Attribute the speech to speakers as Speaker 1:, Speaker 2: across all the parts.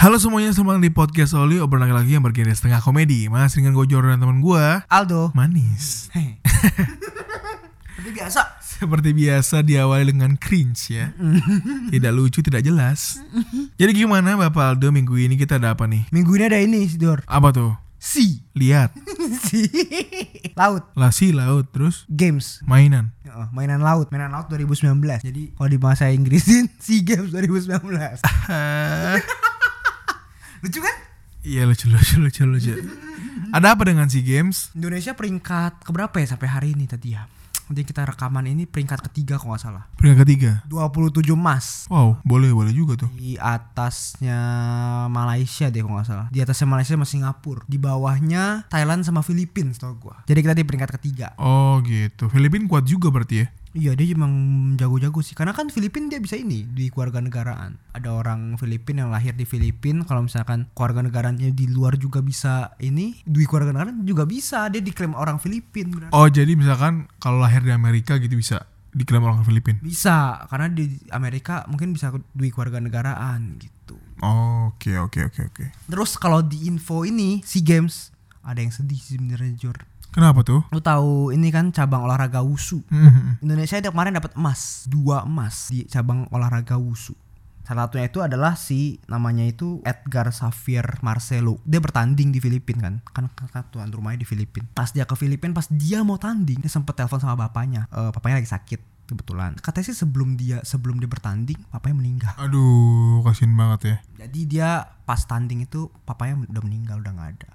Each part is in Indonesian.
Speaker 1: Halo semuanya, selamat datang di podcast Oli obrolan lagi yang bergenre setengah komedi. Mas dengan gue Jordan dan teman gue
Speaker 2: Aldo.
Speaker 1: manis.
Speaker 2: Seperti biasa.
Speaker 1: Seperti biasa diawali dengan cringe ya. Tidak lucu, tidak jelas. Jadi gimana Bapak Aldo minggu ini kita ada apa nih?
Speaker 2: Minggu ini ada ini, Sidor.
Speaker 1: Apa tuh?
Speaker 2: Si.
Speaker 1: Lihat.
Speaker 2: si. Laut.
Speaker 1: Lasi laut terus
Speaker 2: Games.
Speaker 1: mainan.
Speaker 2: Heeh, mainan laut, mainan laut 2019. Jadi kalau di bahasa Inggrisin si Games 2019. Lucu kan?
Speaker 1: Iya lucu lucu lucu lucu. Ada apa dengan si games?
Speaker 2: Indonesia peringkat keberapa ya sampai hari ini tadi ya? Nanti kita rekaman ini peringkat ketiga kalau nggak salah.
Speaker 1: Peringkat ketiga.
Speaker 2: 27 emas
Speaker 1: Wow, boleh boleh juga tuh.
Speaker 2: di atasnya Malaysia deh kalau nggak salah. Di atasnya Malaysia sama Singapura. Di bawahnya Thailand sama Filipina setahu gua. Jadi kita di peringkat ketiga.
Speaker 1: Oh gitu. Filipin kuat juga berarti ya.
Speaker 2: Iya dia emang jago-jago sih. Karena kan Filipina dia bisa ini di keluarga negaraan. Ada orang Filipina yang lahir di Filipina. Kalau misalkan keluarga negaranya di luar juga bisa ini. Di keluarga negaraan juga bisa. Dia diklaim orang Filipina. beneran.
Speaker 1: Oh jadi misalkan kalau lahir di Amerika gitu bisa diklaim orang Filipin.
Speaker 2: Bisa, karena di Amerika mungkin bisa duit keluarga negaraan gitu.
Speaker 1: Oh, Oke oke oke oke.
Speaker 2: Terus kalau di info ini SEA Games ada yang sedih sih sebenarnya Jor.
Speaker 1: Kenapa tuh?
Speaker 2: Lu tahu ini kan cabang olahraga wushu.
Speaker 1: Mhm.
Speaker 2: Indonesia ada kemarin dapat emas, dua emas di cabang olahraga wushu. Salah satunya itu adalah si namanya itu Edgar Xavier Marcelo. Dia bertanding di Filipina kan. Kan kakak tuan rumahnya di Filipina. Pas dia ke Filipina, pas dia mau tanding, dia sempet telepon sama bapaknya. Eh, papanya lagi sakit kebetulan. Katanya sih sebelum dia sebelum dia bertanding, papanya meninggal.
Speaker 1: Aduh, kasihan banget ya.
Speaker 2: Jadi dia pas tanding itu papanya udah meninggal udah nggak ada.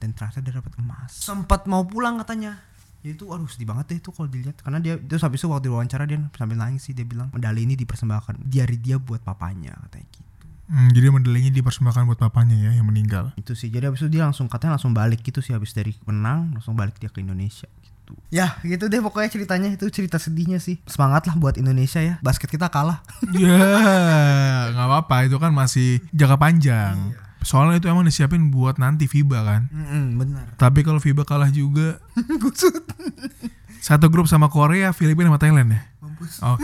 Speaker 2: Dan ternyata dia dapat emas. Sempat mau pulang katanya. Ya Itu aduh sedih banget deh itu kalau dilihat karena dia terus habis itu waktu diwawancara dia sambil nangis sih dia bilang medali ini dipersembahkan diari dia buat papanya katanya gitu.
Speaker 1: Hmm, jadi medalinya dipersembahkan buat papanya ya yang meninggal.
Speaker 2: Itu sih jadi habis itu dia langsung katanya langsung balik gitu sih habis dari menang langsung balik dia ke Indonesia gitu. Ya gitu deh pokoknya ceritanya itu cerita sedihnya sih. Semangatlah buat Indonesia ya. Basket kita kalah.
Speaker 1: Ya, nggak apa-apa. Itu kan masih jangka panjang. Soalnya itu emang disiapin buat nanti FIBA kan.
Speaker 2: bener.
Speaker 1: Tapi kalau FIBA kalah juga,
Speaker 2: Kusut.
Speaker 1: satu grup sama Korea, Filipina sama Thailand ya. Oh.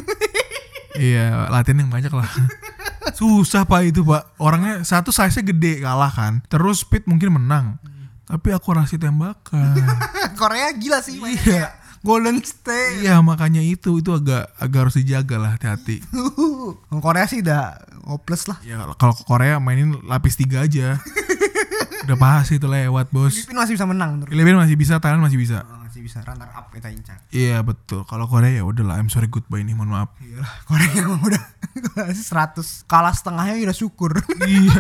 Speaker 1: iya, latihan yang banyak lah. Susah pak itu pak. Orangnya satu size nya gede kalah kan. Terus speed mungkin menang. Tapi akurasi tembakan.
Speaker 2: Korea gila sih mainnya. Iya. Golden State.
Speaker 1: iya makanya itu itu agak agak harus dijaga lah hati-hati.
Speaker 2: Orang Korea sih udah hopeless lah.
Speaker 1: Ya kalau ke Korea mainin lapis tiga aja. Udah pasti itu lewat bos.
Speaker 2: Filipina masih bisa menang menurut
Speaker 1: Filipina masih bisa, Thailand masih bisa.
Speaker 2: gua. Masih bisa runner up kita incar.
Speaker 1: Iya betul. Kalau Korea ya udahlah. I'm sorry goodbye nih. Mohon maaf.
Speaker 2: Iyalah, Korea emang udah Korea sih 100 kalah setengahnya udah syukur.
Speaker 1: iya.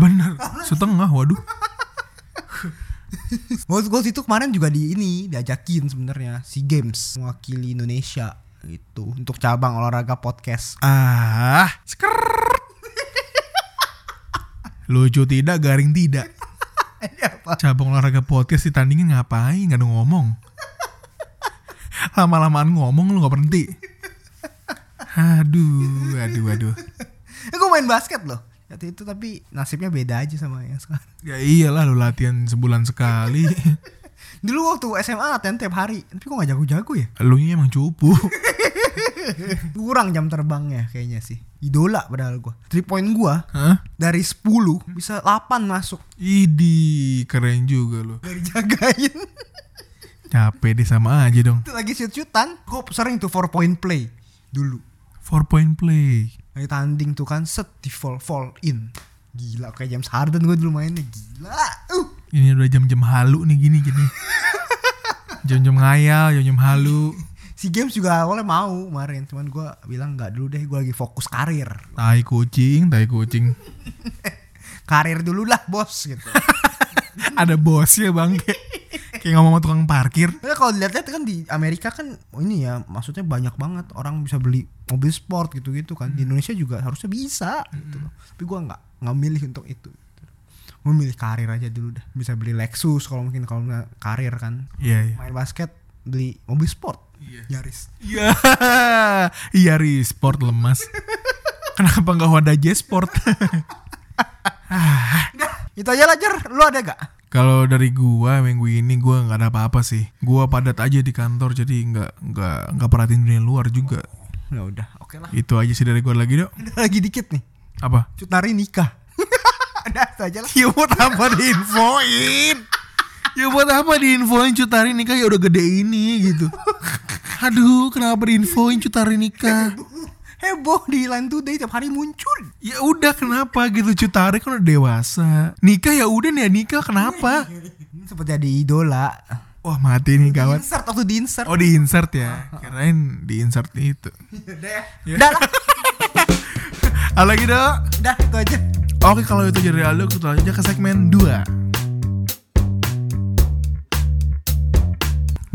Speaker 1: Bener. Setengah. Waduh.
Speaker 2: Goals goals itu kemarin juga di ini diajakin sebenarnya si Games mewakili Indonesia itu untuk cabang olahraga podcast.
Speaker 1: Ah. skrrrt. Lucu tidak, garing tidak.
Speaker 2: Eh, iya.
Speaker 1: Cabang olahraga podcast ditandingin ngapain? Gak ada ngomong. Lama-lamaan ngomong lu gak berhenti. Aduh, aduh, aduh.
Speaker 2: Eh, gue main basket loh. Waktu itu tapi nasibnya beda aja sama yang sekarang.
Speaker 1: Ya iyalah lu latihan sebulan sekali.
Speaker 2: Dulu waktu SMA latihan tiap hari, tapi kok gak jago-jago ya?
Speaker 1: Lu emang cupu.
Speaker 2: Kurang jam terbangnya kayaknya sih. Idola padahal gua. 3 point gua
Speaker 1: Hah?
Speaker 2: dari 10 bisa 8 masuk
Speaker 1: Idi, keren juga lu.
Speaker 2: dari jagain
Speaker 1: Capek deh sama aja dong.
Speaker 2: itu lagi shoot shootan gue sering tuh four point play dulu
Speaker 1: Four point play.
Speaker 2: lagi tanding tuh kan set di fall fall in gila kayak James Harden gue dulu mainnya gila uh
Speaker 1: Ini udah jam-jam halu nih gini gini. jam-jam ngayal, jam-jam halu.
Speaker 2: si games juga awalnya mau kemarin cuman gua bilang nggak dulu deh gua lagi fokus karir
Speaker 1: Tai kucing, tai kucing.
Speaker 2: karir dulu lah bos gitu
Speaker 1: Ada bosnya bangke. Kayak kayak ngomong sama tukang parkir
Speaker 2: Ya kalau dilihat-lihat kan di Amerika kan oh ini ya maksudnya banyak banget orang bisa beli mobil sport gitu-gitu kan. Di Indonesia juga harusnya bisa gitu loh. Tapi gua nggak nggak milih untuk itu. Gitu. Gua milih karir aja dulu dah. Bisa beli Lexus kalau mungkin kalau nggak karir kan.
Speaker 1: iya iya
Speaker 2: Main basket beli mobil sport. Yaris.
Speaker 1: Iya, iya Ri, sport lemas. Kenapa nggak Honda Jazz Sport?
Speaker 2: Itu aja lah Jer. Lu ada gak?
Speaker 1: Kalau dari gua minggu ini gua nggak ada apa-apa sih. Gua padat aja di kantor jadi nggak nggak nggak perhatiin dunia luar juga.
Speaker 2: Ya udah, oke lah.
Speaker 1: Itu aja sih dari gua lagi dok.
Speaker 2: Ada lagi dikit nih.
Speaker 1: Apa?
Speaker 2: Cut tari nikah. Udah, itu aja lah.
Speaker 1: Ya buat apa diinfoin? Ya buat apa diinfoin Cutari nikah ya udah gede ini gitu. Aduh, kenapa diinfoin Cutari nikah?
Speaker 2: Heboh di Line Today tiap hari muncul.
Speaker 1: ya udah kenapa gitu Cutari kan udah dewasa nikah ya udah nih nikah kenapa
Speaker 2: Ini seperti ada idola.
Speaker 1: wah mati nih kawan
Speaker 2: Insert waktu di insert.
Speaker 1: oh di insert ya kirain di insert itu
Speaker 2: Udah ya. Udah lah.
Speaker 1: ah lagi dong
Speaker 2: Udah, itu aja.
Speaker 1: oke kalau itu jadi Aldo kita lanjut aja ke segmen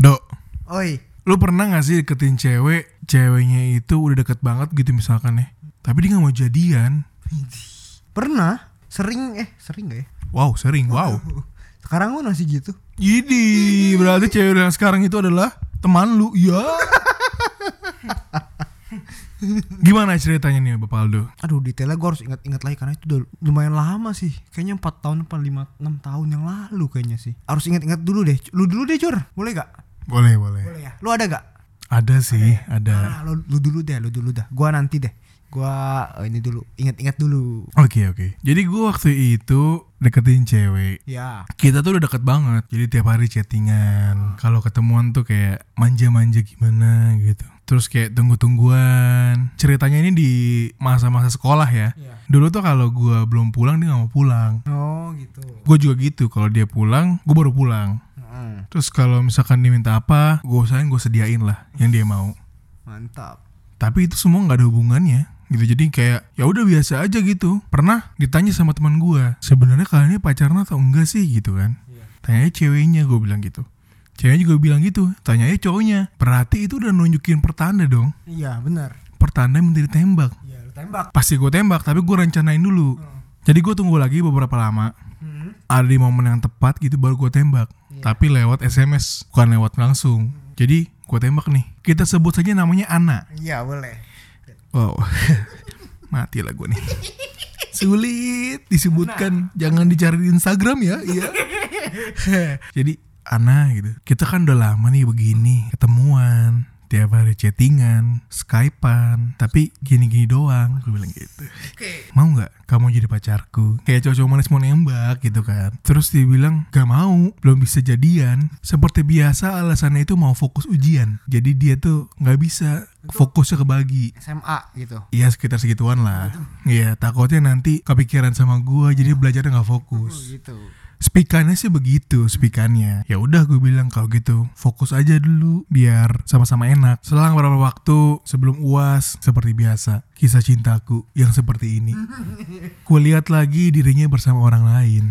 Speaker 1: 2 Dok,
Speaker 2: Oi.
Speaker 1: lu pernah gak sih deketin cewek ceweknya itu udah deket banget gitu misalkan ya tapi dia gak mau jadian
Speaker 2: Pernah? Sering eh sering gak ya? Uh,
Speaker 1: wow sering wow
Speaker 2: Sekarang lu masih gitu.
Speaker 1: Yidi, berarti cewek yang sekarang itu adalah teman lu, ya? Gimana ceritanya nih Bapak Aldo?
Speaker 2: Aduh detailnya gue harus ingat-ingat lagi karena itu udah lumayan lama sih. Kayaknya 4 tahun apa 5 6 tahun yang lalu kayaknya sih. Harus ingat-ingat dulu deh. Lu dulu deh, Jur. Boleh gak?
Speaker 1: Boleh, boleh.
Speaker 2: Boleh ya. Lu ada gak?
Speaker 1: Ada sih,
Speaker 2: Ah,
Speaker 1: ada.
Speaker 2: lu, lu dulu deh, lu dulu dah. Gua nanti deh. Gua eh, ini dulu, ingat-ingat dulu.
Speaker 1: Oke, oke. Jadi gue waktu itu deketin cewek.
Speaker 2: Ya.
Speaker 1: Kita tuh udah deket banget. Jadi tiap hari chattingan. Kalau ketemuan tuh kayak manja-manja gimana gitu. Terus kayak tunggu-tungguan. Ceritanya ini di masa-masa sekolah ya.
Speaker 2: Iya.
Speaker 1: Dulu tuh kalau gua belum pulang dia nggak mau pulang.
Speaker 2: Oh, gitu.
Speaker 1: Gue juga gitu, kalau dia pulang, gue baru pulang.
Speaker 2: Heeh.
Speaker 1: Terus kalau misalkan diminta apa, gue usahain gue sediain lah yang dia mau.
Speaker 2: Mantap.
Speaker 1: Tapi itu semua nggak ada hubungannya gitu jadi kayak ya udah biasa aja gitu pernah ditanya sama teman gue sebenarnya kalian ini pacaran atau enggak sih gitu kan tanyanya ceweknya gue bilang gitu ceweknya juga bilang gitu tanyanya cowoknya berarti itu udah nunjukin pertanda dong
Speaker 2: Iya, benar.
Speaker 1: pertanda minta ditembak
Speaker 2: Iya, lu tembak.
Speaker 1: pasti gue tembak tapi gue rencanain dulu jadi gue tunggu lagi beberapa lama
Speaker 2: Mm-hmm.
Speaker 1: ada di momen yang tepat gitu baru gue tembak tapi lewat sms bukan lewat langsung jadi gue tembak nih kita sebut saja namanya Ana
Speaker 2: Iya, boleh.
Speaker 1: wow mati lah gue nih sulit disebutkan jangan dicari di Instagram ya iya jadi Ana gitu kita kan udah lama nih begini ketemuan tiap hari chattingan, skypean, tapi gini-gini doang, gue bilang gitu
Speaker 2: Oke.
Speaker 1: mau nggak kamu jadi pacarku kayak cowok-cowok manis mau nembak gitu kan terus dia bilang gak mau belum bisa jadian seperti biasa alasannya itu mau fokus ujian jadi dia tuh nggak bisa fokusnya kebagi
Speaker 2: SMA gitu.
Speaker 1: Iya sekitar segituan lah Iya takutnya nanti kepikiran sama gua Jadi belajarnya nggak fokus
Speaker 2: Gitu.
Speaker 1: Spikannya sih begitu spikannya Ya udah gue bilang kalau gitu Fokus aja dulu Biar sama-sama enak Selang beberapa waktu sebelum uas Seperti biasa Kisah cintaku yang seperti ini Kulihat lagi dirinya bersama orang lain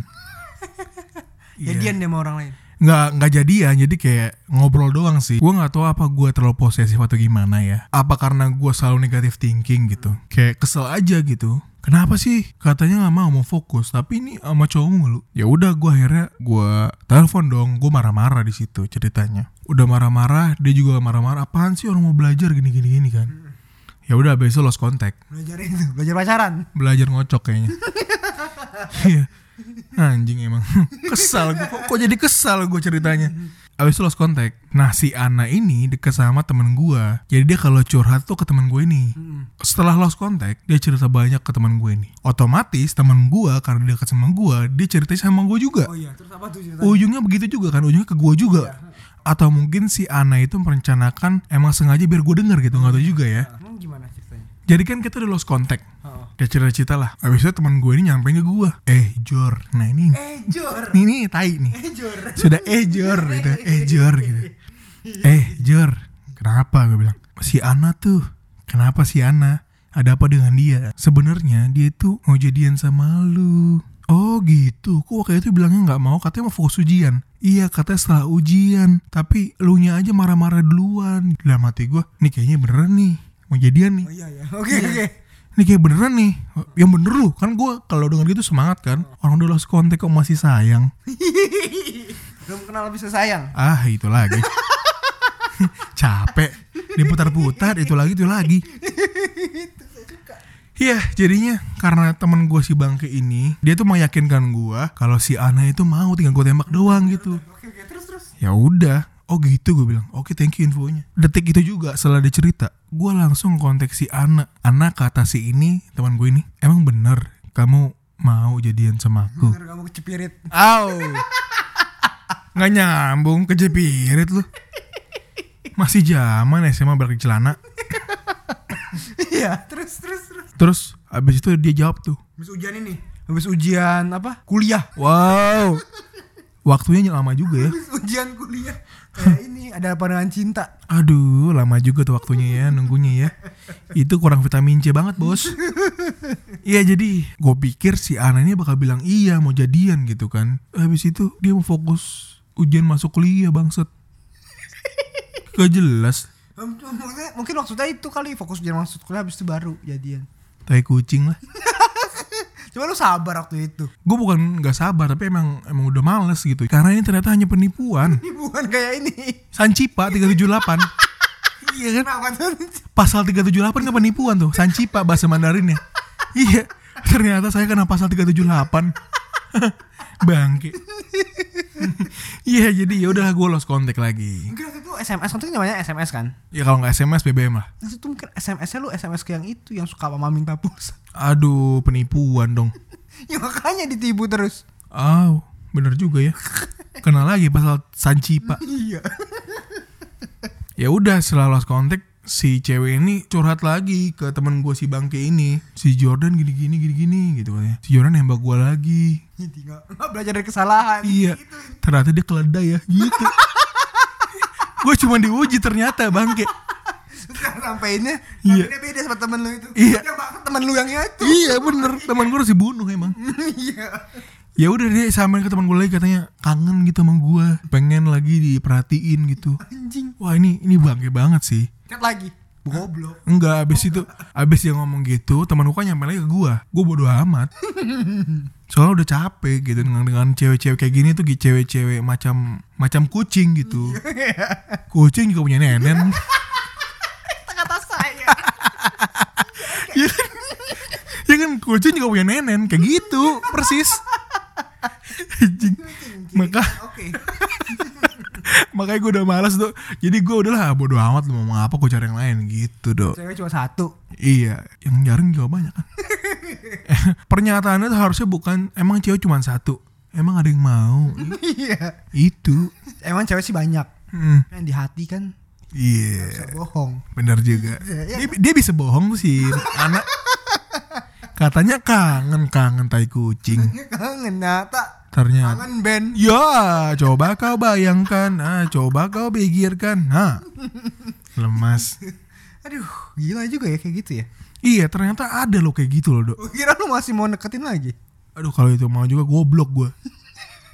Speaker 1: Iya.
Speaker 2: Jadian deh sama orang lain.
Speaker 1: nggak nggak jadian jadi kayak ngobrol doang sih gue nggak tahu apa gue terlalu posesif atau gimana ya apa karena gue selalu negatif thinking gitu kayak kesel aja gitu kenapa sih katanya nggak mau mau fokus tapi ini sama cowok mulu ya udah gue akhirnya gue telepon dong gue marah-marah di situ ceritanya udah marah-marah dia juga marah-marah apaan sih orang mau belajar gini gini gini kan ya udah besok lost contact
Speaker 2: Belajar itu, belajar pacaran.
Speaker 1: belajar ngocok kayaknya. Iya. Anjing emang. kesal gue. Kok, kok jadi kesal gue ceritanya. Abis itu lost contact. Nah si Ana ini deket sama temen gue. Jadi dia kalau curhat tuh ke temen gue ini.
Speaker 2: Hmm.
Speaker 1: Setelah lost contact, dia cerita banyak ke temen gue ini. Otomatis temen gue karena dia deket sama gue, dia ceritanya sama gue juga.
Speaker 2: Oh iya, Iya. terus apa tuh cerita?
Speaker 1: Ujungnya begitu juga kan, ujungnya ke gue juga. Atau mungkin si Ana itu merencanakan emang sengaja biar gue denger gitu, nggak tahu juga ya.
Speaker 2: Emang gimana ceritanya?
Speaker 1: Jadi kan kita udah lost contact.
Speaker 2: Oh.
Speaker 1: Ya cerita-cerita lah. Abis itu teman gue ini nyampein ke gue. Eh Jor, nah ini
Speaker 2: Eh, Jor.
Speaker 1: ini nih tai nih.
Speaker 2: Eh, Jor.
Speaker 1: Sudah eh Jor gitu, eh Jor gitu. Eh Jor, kenapa gue bilang? Si Ana tuh, kenapa si Ana? Ada apa dengan dia? Sebenarnya dia tuh mau jadian sama lu. Oh gitu, kok waktu itu bilangnya nggak mau, katanya mau fokus ujian. Iya katanya setelah ujian, tapi elunya aja marah-marah duluan. Dalam hati gue, nih kayaknya beneran nih, mau jadian nih.
Speaker 2: iya ya. Oke oke.
Speaker 1: Ini kayak beneran nih, yang bener lu. Kan gue kalau denger gitu semangat kan. Orang udah lost kontak kok masih sayang.
Speaker 2: Belum kenal bisa sayang.
Speaker 1: Ah itu lagi. Capek, diputar-putar, itu lagi, itu lagi. Iya, jadinya karena temen gue si Bangke ini, dia tuh meyakinkan gue kalau si Ana itu mau tinggal gue tembak doang gitu.
Speaker 2: Oke oke terus terus.
Speaker 1: Ya udah. Oh gitu gue bilang. Oke thank you infonya. Detik itu juga setelah dia cerita, gue langsung kontak si Ana. Ana kata si ini teman gue ini, emang bener kamu mau jadian sama aku?
Speaker 2: Bener Oh. kamu kecepirit.
Speaker 1: Au. Nggak nyambung kejepirit lu. Masih zaman SMA balik celana.
Speaker 2: Iya terus terus terus.
Speaker 1: Terus abis itu dia jawab tuh.
Speaker 2: Habis ujian ini. Habis ujian apa? Kuliah.
Speaker 1: Wow. Waktunya lama juga ya.
Speaker 2: Habis ujian kuliah. Kayak ini ada pandangan cinta.
Speaker 1: Aduh, lama juga tuh waktunya ya, nunggunya ya. Itu kurang vitamin C banget, Bos. Iya, jadi gue pikir si Ana ini bakal bilang iya mau jadian gitu kan. Habis itu dia mau fokus ujian masuk kuliah, bangset. Gak jelas.
Speaker 2: Hmm, Mungkin, mungkin maksudnya itu kali fokus ujian masuk kuliah habis itu baru jadian.
Speaker 1: Tai kucing lah.
Speaker 2: Coba lu sabar waktu itu.
Speaker 1: Gue bukan nggak sabar, tapi emang emang udah males gitu. Karena ini ternyata hanya penipuan.
Speaker 2: Ini bukan kayak ini.
Speaker 1: Sancipa 378. iya kan?
Speaker 2: Kenapa tuh?
Speaker 1: pasal 378 kan penipuan tuh sancipa bahasa Mandarin ya iya ternyata saya kena pasal 378 bangke iya jadi ya udah gue lost kontak lagi
Speaker 2: Mungkin waktu itu SMS waktu itu namanya SMS kan.
Speaker 1: ya kalau nggak SMS BBM lah
Speaker 2: Terus itu mungkin SMS-nya lu SMS ke yang itu yang suka mama minta pulsa.
Speaker 1: aduh penipuan dong
Speaker 2: Ya makanya ditipu terus.
Speaker 1: aw bener juga ya kena lagi pasal sancipa
Speaker 2: Iya.
Speaker 1: ya udah setelah lost kontak si cewek ini curhat lagi ke teman gue si bangke ini si Jordan gini gini gini gini gitu katanya si Jordan nembak gue lagi
Speaker 2: Jadi nggak nggak belajar dari kesalahan.
Speaker 1: Iya, ternyata dia keledai ya, gitu. gue cuma diuji ternyata bangke.
Speaker 2: Sampainya
Speaker 1: Iya.
Speaker 2: beda beda sama temen lu itu.
Speaker 1: Iya.
Speaker 2: Yang bakal temen lu yang itu.
Speaker 1: iya bener, teman gue harus dibunuh emang.
Speaker 2: Iya.
Speaker 1: Ya udah dia sampein ke teman gue lagi katanya kangen gitu sama gue, pengen lagi diperhatiin gitu.
Speaker 2: Anjing.
Speaker 1: Wah ini ini bangke banget sih.
Speaker 2: Chat lagi. Goblok.
Speaker 1: Enggak, abis itu abis dia ngomong gitu, teman gue nyampe lagi ke gue. Gue bodo amat. Soalnya udah capek gitu dengan dengan cewek-cewek kayak gini tuh cewek-cewek macam macam kucing gitu. Kucing juga punya nenen.
Speaker 2: Kata saya.
Speaker 1: ya kan ya kan kucing juga punya nenen kayak gitu persis Anjing. maka
Speaker 2: Oke.
Speaker 1: makanya gue udah malas tuh jadi gue udahlah bodo amat lu mau ngomong apa gue cari yang lain gitu dok
Speaker 2: Cewek cuma satu.
Speaker 1: iya yang jarang juga banyak kan pernyataannya tuh harusnya bukan emang cewek cuma satu emang ada yang mau
Speaker 2: Iya.
Speaker 1: itu
Speaker 2: Emang cewek sih banyak.
Speaker 1: Hmm,
Speaker 2: Yang di hati kan
Speaker 1: iya
Speaker 2: bisa bohong.
Speaker 1: bener juga dia, dia bisa bohong sih anak katanya kangen kangen tai kucing
Speaker 2: Kangen nata.
Speaker 1: ternyata
Speaker 2: Kangen Ben.
Speaker 1: Ya, coba kau bayangkan, ah, coba kau pikirkan, nah, lemas.
Speaker 2: Aduh, gila juga ya kayak gitu ya.
Speaker 1: Iya, ternyata ada loh kayak gitu loh, dok.
Speaker 2: Gua kira lu masih mau deketin lagi.
Speaker 1: Aduh, kalau itu mau juga goblok gue.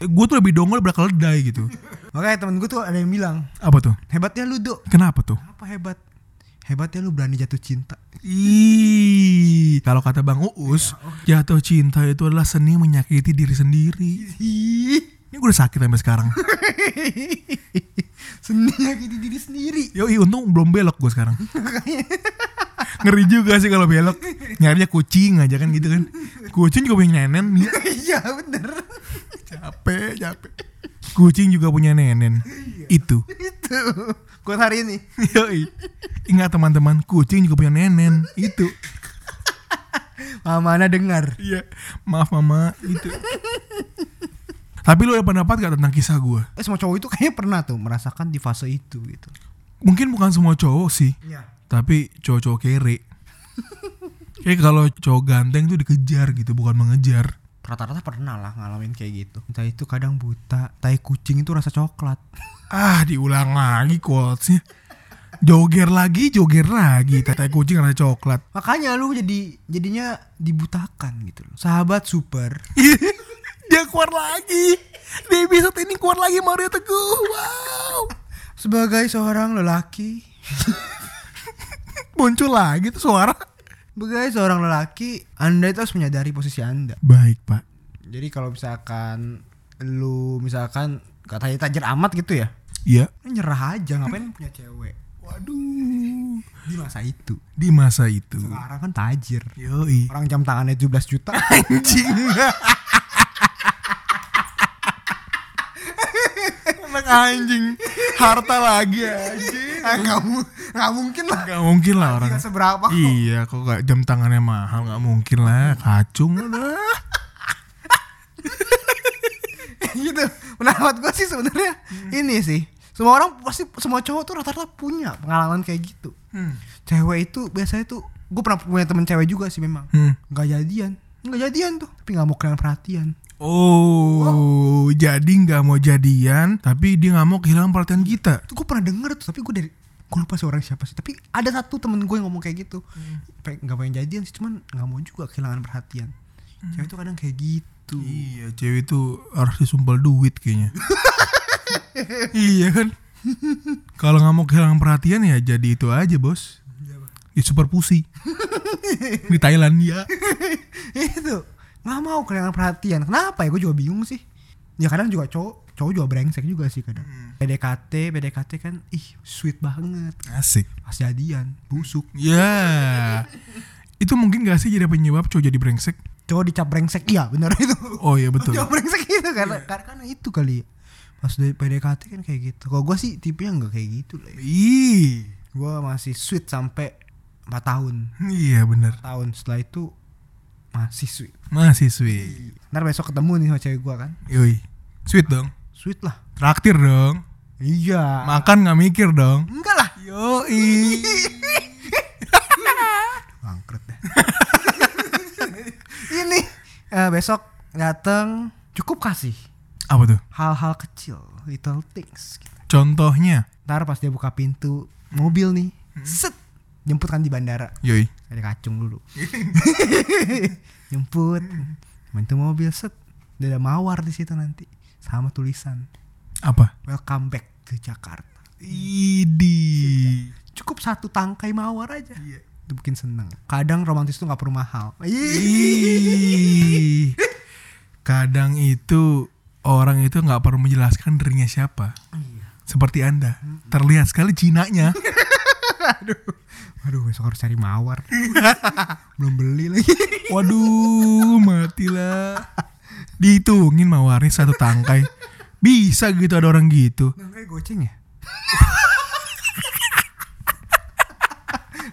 Speaker 1: Gue tuh lebih dongol berapa keledai gitu.
Speaker 2: Makanya temen gue tuh ada yang bilang,
Speaker 1: Apa tuh?
Speaker 2: hebatnya lu dok.
Speaker 1: Kenapa tuh?
Speaker 2: Apa hebat? Hebatnya lu berani jatuh cinta.
Speaker 1: Ih, kalau kata Bang Uus, jatuh cinta itu adalah seni menyakiti diri sendiri.
Speaker 2: Ih,
Speaker 1: Ini gue udah sakit sampai sekarang.
Speaker 2: seni lagi di diri sendiri.
Speaker 1: Yoi, untung belum belok gue sekarang. Ngeri juga sih kalau belok. Nyarinya kucing aja kan gitu kan. Kucing juga punya nenen. Ya.
Speaker 2: Iya bener.
Speaker 1: capek capek kucing juga punya nenen itu
Speaker 2: Itu. Kuat hari ini.
Speaker 1: Yoi. ingat teman-teman kucing juga punya nenen itu
Speaker 2: Mama Ana dengar.
Speaker 1: iya maaf mama itu tapi lu ada pendapat gak tentang kisah gue
Speaker 2: Eh, semua cowok itu kayaknya pernah tuh merasakan di fase itu gitu.
Speaker 1: mungkin bukan semua cowok sih
Speaker 2: Iya.
Speaker 1: tapi cowok-cowok kere kayak kalau cowok ganteng tuh dikejar gitu bukan mengejar
Speaker 2: Rata-rata pernah lah ngalamin kayak gitu. Entah itu kadang buta, tai kucing itu rasa coklat.
Speaker 1: ah diulang lagi quotesnya joger lagi joger lagi tete kucing rasa coklat
Speaker 2: Makanya lu jadi jadinya dibutakan gitu loh. Sahabat super
Speaker 1: keluar lagi. Di episode ini keluar lagi Mario Teguh. Wow.
Speaker 2: Sebagai seorang lelaki,
Speaker 1: Muncul lagi tuh suara.
Speaker 2: sebagai seorang lelaki, Anda itu harus menyadari posisi Anda.
Speaker 1: Baik, Pak.
Speaker 2: Jadi kalau misalkan lu misalkan katanya tajir amat gitu ya,
Speaker 1: Iya.
Speaker 2: nyerah aja ngapain punya cewek
Speaker 1: Waduh.
Speaker 2: di masa itu.
Speaker 1: Di masa itu.
Speaker 2: Sekarang kan tajir.
Speaker 1: Yoi.
Speaker 2: Orang jam tangannya 17 juta.
Speaker 1: Anjing. Anak anjing. Harta lagi anjing.
Speaker 2: Enggak mungkin lah.
Speaker 1: Gak mungkin lah orang.
Speaker 2: Gak seberapa.
Speaker 1: Iya, kok gak jam tangannya mahal gak mungkin lah. Kacung lah.
Speaker 2: gitu menurut gue sih sebenarnya ini sih semua orang pasti semua cowok tuh rata-rata punya pengalaman kayak gitu cewek itu biasanya tuh gue pernah punya temen cewek juga sih memang
Speaker 1: Hmm.
Speaker 2: nggak jadian nggak jadian tuh tapi nggak mau kehilangan perhatian
Speaker 1: Oh, jadi nggak mau jadian, tapi dia nggak mau kehilangan perhatian kita.
Speaker 2: itu gue pernah denger tuh tapi gue dari gue lupa seorang siapa sih tapi ada satu temen gue yang ngomong kayak gitu Peng- nggak pengen jadian sih cuman nggak mau juga kehilangan perhatian cewek tuh kadang kayak gitu
Speaker 1: Iya, cewek itu harus disumpel duit kayaknya. iya kan? Kalau nggak mau kehilangan perhatian ya jadi itu aja bos. Di super pussy. Di Thailand ya.
Speaker 2: itu nggak mau kehilangan perhatian kenapa ya gue juga bingung sih ya kadang juga cowok cowok juga brengsek juga sih kadang PDKT PDKT kan ih sweet banget
Speaker 1: Asik.
Speaker 2: pas jadian busuk
Speaker 1: Ya. Itu mungkin gak sih jadi penyebab cowok jadi brengsek?
Speaker 2: cowok dicap brengsek iya bener itu
Speaker 1: Oh iya betul.
Speaker 2: cowok brengsek itu karena karena karena itu kali ya. pas dari PDKT kan kayak gitu kalau gue sih tipenya nggak kayak gitu lah ya.
Speaker 1: Ih.
Speaker 2: gue masih sweet sampai 4 tahun
Speaker 1: Iya bener.
Speaker 2: tahun setelah itu masih sweet
Speaker 1: Masih sweet.
Speaker 2: ntar besok ketemu nih sama cewek gue kan
Speaker 1: Yoi. Sweet dong.
Speaker 2: sweet lah
Speaker 1: Traktir dong.
Speaker 2: iya
Speaker 1: Makan nggak mikir dong.
Speaker 2: enggak lah
Speaker 1: Yoi.
Speaker 2: Bangkrut deh. Ini eh, besok datang cukup kasih
Speaker 1: Apa tuh?
Speaker 2: hal-hal kecil, little things. Gitu.
Speaker 1: Contohnya.
Speaker 2: Ntar pas dia buka pintu mobil nih, set jemputkan di bandara.
Speaker 1: Yoi.
Speaker 2: Ada kacung dulu. Jemput, bantu mobil set. Dia ada mawar di situ nanti sama tulisan
Speaker 1: Apa?
Speaker 2: welcome back to Jakarta.
Speaker 1: Idi.
Speaker 2: Cukup satu tangkai mawar aja. Itu bikin seneng. Kadang romantis tuh nggak perlu mahal. Ih.
Speaker 1: Ih. Kadang itu orang itu nggak perlu menjelaskan dirinya siapa.
Speaker 2: Iya.
Speaker 1: Seperti Anda, terlihat sekali jinaknya.
Speaker 2: Aduh besok harus cari mawar Belum beli lagi
Speaker 1: Waduh, matilah. Dihitungin mawarnya satu tangkai. Bisa gitu ada orang gitu.
Speaker 2: Nangkai goceng ya?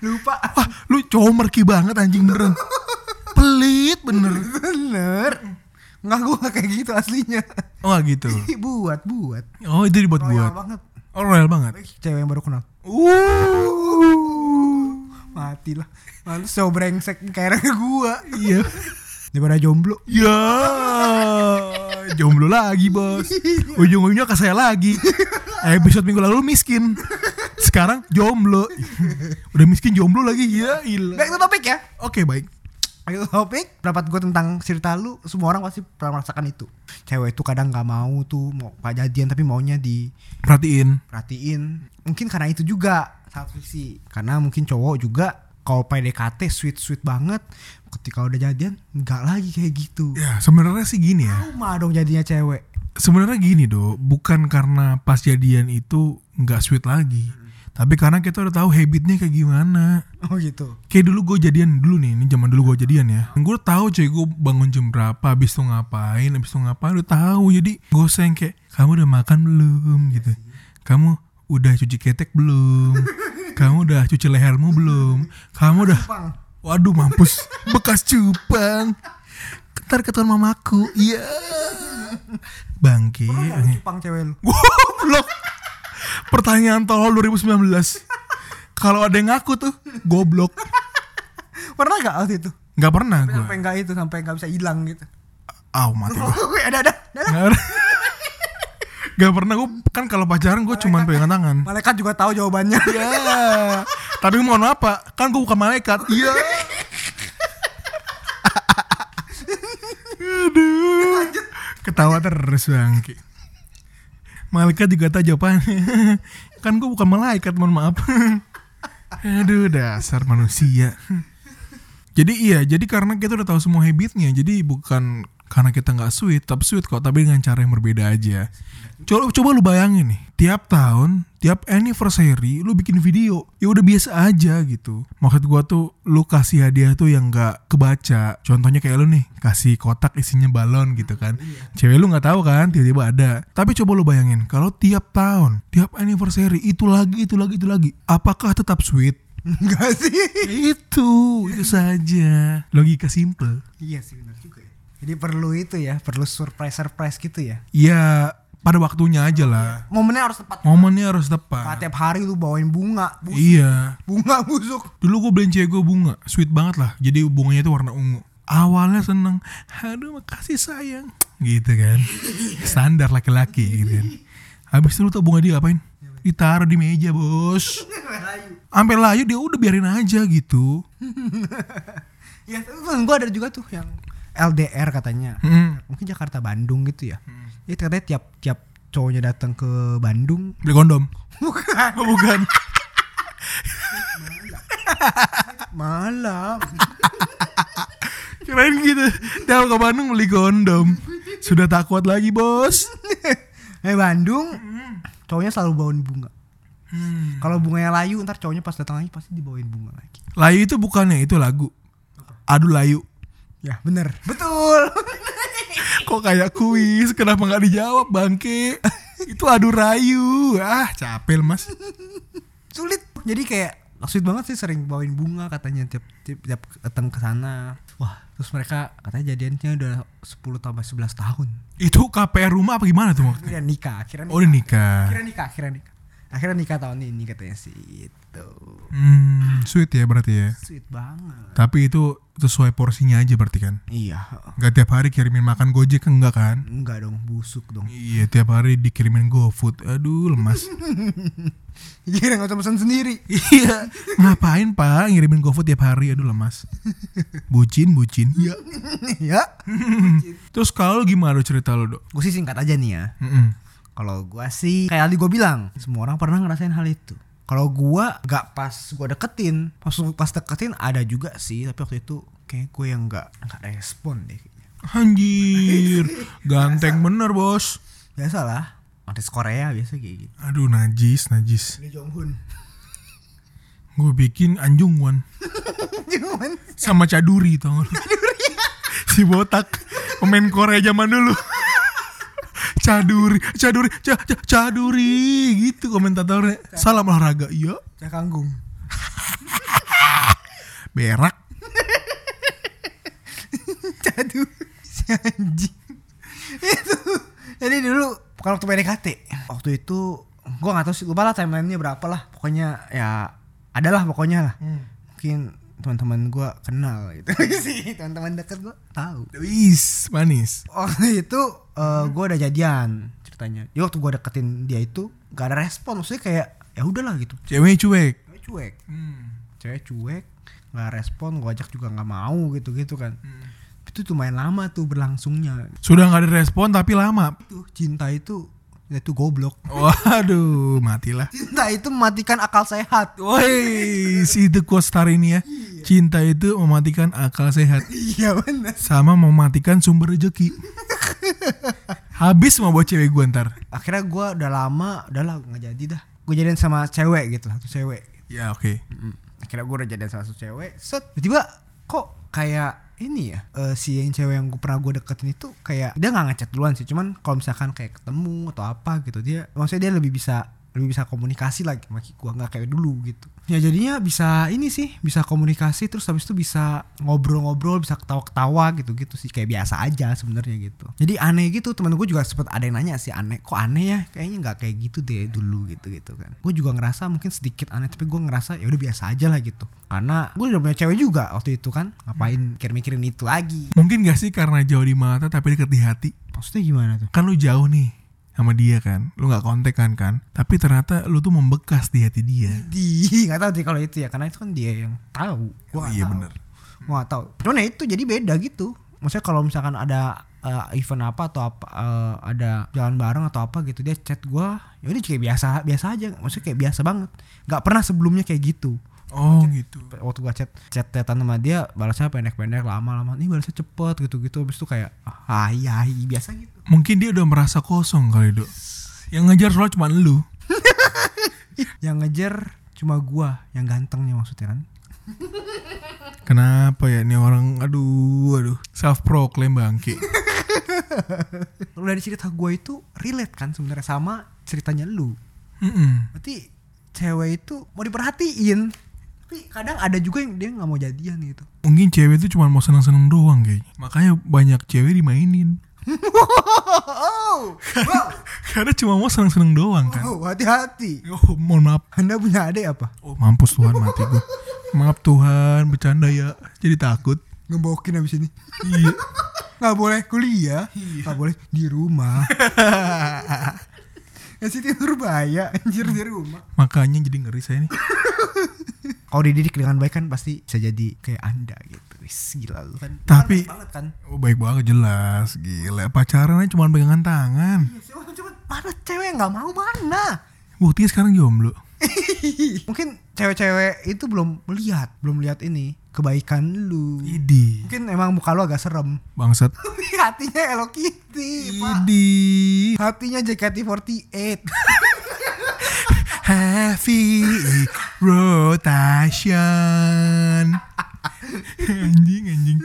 Speaker 2: Lupa
Speaker 1: Wah, Ah, lu comerki banget anjing beneran. Pelit bener.
Speaker 2: Bener Nggak gue nggak kayak gitu aslinya
Speaker 1: Oh gitu.
Speaker 2: Ih, Buat buat
Speaker 1: Oh itu
Speaker 2: Royal
Speaker 1: dibuat-buat.
Speaker 2: banget
Speaker 1: Oh royal banget.
Speaker 2: Cewek yang baru kenal
Speaker 1: Uh.
Speaker 2: Mati lah Males so brengsek kayak gue
Speaker 1: Iya.
Speaker 2: Daripada jomblo
Speaker 1: Ya. Jomblo lagi bos. Ujung-ujungnya ke saya lagi. Episode minggu lalu miskin. Sekarang jomblo. Udah miskin jomblo lagi ya ilah.
Speaker 2: Back to topik ya
Speaker 1: Oke baik.
Speaker 2: Back to topik Pendapat gue tentang cerita lu Semua orang pasti pernah merasakan itu Cewek itu kadang nggak mau tuh Mau pak jadian tapi maunya di
Speaker 1: Perhatiin.
Speaker 2: perhatiin mungkin karena itu juga satu sisi karena mungkin cowok juga kalau PDKT sweet sweet banget ketika udah jadian nggak lagi kayak gitu
Speaker 1: Ya sebenarnya sih gini ya.
Speaker 2: cuma dong jadinya cewek
Speaker 1: Sebenarnya gini do. Bukan karena pas jadian itu nggak sweet lagi. Tapi karena kita udah tahu habitnya kayak gimana.
Speaker 2: oh gitu
Speaker 1: kayak dulu gue jadian dulu nih ini zaman dulu gue jadian ya gue tahu cuy gue bangun jam berapa habis itu ngapain habis itu ngapain udah tahu jadi gue sayang kayak kamu udah makan belum gitu kamu udah cuci ketek belum kamu udah cuci lehermu belum kamu udah
Speaker 2: Bang.
Speaker 1: waduh mampus bekas cupang ntar ketahuan mamaku iya bangke
Speaker 2: cupang cewek lu
Speaker 1: Goblok. Pertanyaan tolol 2019. Kalau ada yang ngaku tuh, goblok.
Speaker 2: pernah gak waktu itu
Speaker 1: Nggak pernah gue.
Speaker 2: sampai nggak itu sampai nggak bisa hilang gitu
Speaker 1: Aw, mati gue.
Speaker 2: oh, ada ada ada
Speaker 1: Nggak pernah. Nggak pernah gue kan kalau pacaran gue cuman pegangan tangan.
Speaker 2: malaikat juga tahu jawabannya
Speaker 1: Ya.
Speaker 2: Iya.
Speaker 1: Tapi mohon maaf pak, kan gue bukan malaikat. Iya. Aduh. ketawa terus bangki. Malaikat juga tak jawabannya. kan gue bukan malaikat, mohon maaf. Aduh, dasar manusia. Jadi iya, jadi karena kita udah tahu semua habitnya, jadi bukan karena kita nggak sweet, tapi sweet kok, tapi dengan cara yang berbeda aja. Coba, coba lu bayangin nih, tiap tahun, tiap anniversary, lu bikin video, ya udah biasa aja gitu. Maksud gua tuh, lu kasih hadiah tuh yang nggak kebaca. Contohnya kayak lu nih, kasih kotak isinya balon gitu kan. Cewek lu nggak tahu kan, tiba-tiba ada. Tapi coba lu bayangin, kalau tiap tahun, tiap anniversary, itu lagi, itu lagi, itu lagi. Apakah tetap sweet?
Speaker 2: Enggak sih.
Speaker 1: itu itu Gitu, saja logika simple
Speaker 2: Iya sih benar juga ya. Jadi perlu itu ya, perlu surprise surprise gitu ya.
Speaker 1: ya pada waktunya aja lah
Speaker 2: Momennya harus tepat.
Speaker 1: momennya harus
Speaker 2: Nah,
Speaker 1: tepat
Speaker 2: tiap hari lu bawain bunga, bu-
Speaker 1: Ah. iya
Speaker 2: bunga busuk.
Speaker 1: dulu gue beliin cewek gue bunga sweet banget lah jadi bunganya itu warna ungu awalnya seneng aduh makasih sayang gitu kan standar laki-laki gitu kan habis itu lu tau bunga dia apain ditaruh di meja bos sampai layu dia udah biarin aja gitu
Speaker 2: ya, tapi gue ada juga tuh yang LDR katanya.
Speaker 1: Mm-mm.
Speaker 2: Mungkin Jakarta Bandung gitu ya. Jadi katanya tiap tiap cowoknya datang ke Bandung
Speaker 1: beli kondom
Speaker 2: bukan
Speaker 1: oh, bukan
Speaker 2: malam
Speaker 1: Kirain gitu Dalam ke Bandung beli kondom Sudah tak kuat lagi bos
Speaker 2: eh Bandung cowoknya selalu bawain bunga kalau bunganya layu ntar cowoknya pas datang lagi pasti dibawain bunga lagi
Speaker 1: Layu itu bukannya itu lagu Aduh layu
Speaker 2: ya bener betul
Speaker 1: Kok kayak kuis Kenapa nggak dijawab bangke Itu aduh rayu Ah capek mas
Speaker 2: sulit jadi kayak sweet banget sih sering bawain bunga katanya tiap tiap, tiap datang ke sana wah terus mereka katanya jadiannya udah 10 tambah 11 tahun
Speaker 1: Itu KPR rumah apa gimana tuh waktu
Speaker 2: udah Iya, nikah akhirnya
Speaker 1: Oh
Speaker 2: nikah
Speaker 1: udah nikah
Speaker 2: akhirnya nikah akhirnya nikah akhirnya nikah tahun ini katanya sih gitu. itu
Speaker 1: hmm, Sweet ya berarti ya
Speaker 2: sweet banget
Speaker 1: Tapi itu sesuai porsinya aja berarti kan
Speaker 2: iya
Speaker 1: Gak tiap hari kirimin makan gojek enggak kan
Speaker 2: enggak dong busuk dong
Speaker 1: Iya tiap hari dikirimin gofood Aduh lemas
Speaker 2: Gila nggak usah pesan sendiri
Speaker 1: Iya. Ngapain pak ngirimin GoFood tiap hari? Aduh lemas. Bucin, bucin. Iya.
Speaker 2: ya
Speaker 1: Terus kalau lu gimana cerita lu dok?
Speaker 2: gue sih singkat aja nih ya
Speaker 1: Mm-mm.
Speaker 2: kalau gua sih kayak tadi gue bilang semua orang pernah ngerasain hal itu kalau gua nggak pas gua deketin pas pas deketin ada juga sih tapi waktu itu kayak gue yang nggak nggak respon deh kayaknya.
Speaker 1: Anjir, ganteng bener bos.
Speaker 2: biasalah artis Korea biasa kayak gitu
Speaker 1: Aduh najis, najis.
Speaker 2: Lee Jong Hun
Speaker 1: Gue bikin anjungan
Speaker 2: cuman
Speaker 1: sama caduri tau nggak lu? si botak pemain Korea zaman dulu. caduri, caduri, ca- ca- caduri gitu komentatornya. Salam olahraga, iya.
Speaker 2: Cah Kanggung
Speaker 1: Berak.
Speaker 2: Aduh si anjing itu jadi dulu kalau waktu PDKT waktu itu gue nggak tahu sih lupa lah timelinenya berapa lah pokoknya ya adalah pokoknya lah
Speaker 1: Hmm.
Speaker 2: mungkin teman-teman gue kenal gitu sih teman-teman deket gue tahu
Speaker 1: Wis, manis.
Speaker 2: waktu itu gue udah jadian ceritanya jadi waktu gue deketin dia itu gak ada respon maksudnya kayak ya udahlah gitu
Speaker 1: Cewek cuek.
Speaker 2: cewek cuek
Speaker 1: Hmm,
Speaker 2: cewek cuek nggak respon gue ajak juga nggak mau gitu gitu kan
Speaker 1: Hmm.
Speaker 2: itu lumayan lama tuh berlangsungnya
Speaker 1: Sudah nggak ada respon tapi lama.
Speaker 2: tuh cinta itu ya itu goblok
Speaker 1: Waduh, matilah.
Speaker 2: cinta itu mematikan akal sehat
Speaker 1: Woi, si itu quotes hari ini ya. Cinta itu mematikan akal sehat
Speaker 2: iya benar
Speaker 1: sama mematikan sumber rezeki. Habis mau buat cewek gue ntar.
Speaker 2: akhirnya gue udah lama udah lah nggak jadi dah gue jadian sama cewek gitu satu cewek
Speaker 1: Ya oke.
Speaker 2: akhirnya gue udah jadian sama satu cewek set tiba kok kayak ini ya eh, si yang cewek yang gue pernah gue deketin itu kayak dia nggak ngechat duluan sih cuman kalau misalkan kayak ketemu atau apa gitu dia maksudnya dia lebih bisa lebih bisa komunikasi lagi sama gue nggak kayak dulu gitu ya jadinya bisa ini sih bisa komunikasi terus habis itu bisa ngobrol-ngobrol bisa ketawa-ketawa gitu gitu sih kayak biasa aja sebenarnya gitu jadi aneh gitu temen gue juga sempet ada yang nanya sih aneh kok aneh ya kayaknya nggak kayak gitu deh dulu gitu gitu kan gue juga ngerasa mungkin sedikit aneh tapi gue ngerasa ya udah biasa aja lah gitu karena gue udah punya cewek juga waktu itu kan ngapain mikir-mikirin itu lagi
Speaker 1: Mungkin gak sih karena jauh di mata tapi deket di hati.
Speaker 2: maksudnya gimana tuh
Speaker 1: Kan lu jauh nih sama dia kan. Lu nggak kontak kan kan. Tapi ternyata lu tuh membekas di hati dia.
Speaker 2: di nggak tahu sih kalau itu ya karena itu kan dia yang tahu gue
Speaker 1: Oh, iya bener.
Speaker 2: Gua nggak tahu. Cuman ya itu jadi beda gitu. Maksudnya kalau misalkan ada eh, event apa atau apa eh, ada jalan bareng atau apa gitu dia chat gua ya udah kayak biasa biasa aja maksudnya kayak biasa banget nggak pernah sebelumnya kayak gitu
Speaker 1: Oh gitu.
Speaker 2: waktu gua chat chat chatan sama dia balasnya pendek-pendek lama-lama nih balasnya cepet gitu-gitu habis itu kayak ah hai hai biasa gitu
Speaker 1: Mungkin dia udah merasa kosong kali dok. Yang ngejar soalnya cuma lu.
Speaker 2: yang ngejar cuma gua yang gantengnya maksudnya kan
Speaker 1: Kenapa ya ini orang aduh aduh self proclaim bangki.
Speaker 2: Lu dari cerita gua itu relate kan sebenarnya sama ceritanya lu
Speaker 1: Mm-mm.
Speaker 2: berarti cewek itu mau diperhatiin tapi kadang ada juga yang dia nggak mau jadian gitu
Speaker 1: Mungkin cewek itu cuma mau seneng-seneng doang kayaknya. Makanya banyak cewek dimainin.
Speaker 2: Oh, wow
Speaker 1: Karena cuma mau seneng-seneng doang kan.
Speaker 2: wow, hati-hati
Speaker 1: Oh, mohon maaf.
Speaker 2: anda punya adik apa
Speaker 1: Oh, mampus Tuhan mati gue. Maaf Tuhan, bercanda ya. Jadi takut.
Speaker 2: ngebokin abis ini
Speaker 1: Iya.
Speaker 2: nggak boleh kuliah nggak boleh di rumah yang situ berbahaya anjir di rumah
Speaker 1: Makanya jadi ngeri saya nih.
Speaker 2: kalau dididik dengan baik kan pasti bisa jadi kayak anda gitu Wis, gila lu kan
Speaker 1: Tapi-
Speaker 2: Baik banget kan
Speaker 1: Oh, baik banget jelas. Gila, pacaran aja cuma pegangan tangan.
Speaker 2: Ya, cuma cuma mana cewek yang nggak mau mana
Speaker 1: Buktinya sekarang jomblo.
Speaker 2: mungkin cewek-cewek itu belum melihat belum lihat ini kebaikan lu
Speaker 1: Idi.
Speaker 2: mungkin emang muka lu agak serem
Speaker 1: Bangsat.
Speaker 2: hatinya Hello Kitty Iya, pak
Speaker 1: Idi.
Speaker 2: hatinya JKT48
Speaker 1: Heavy rotation. anjing, anjing.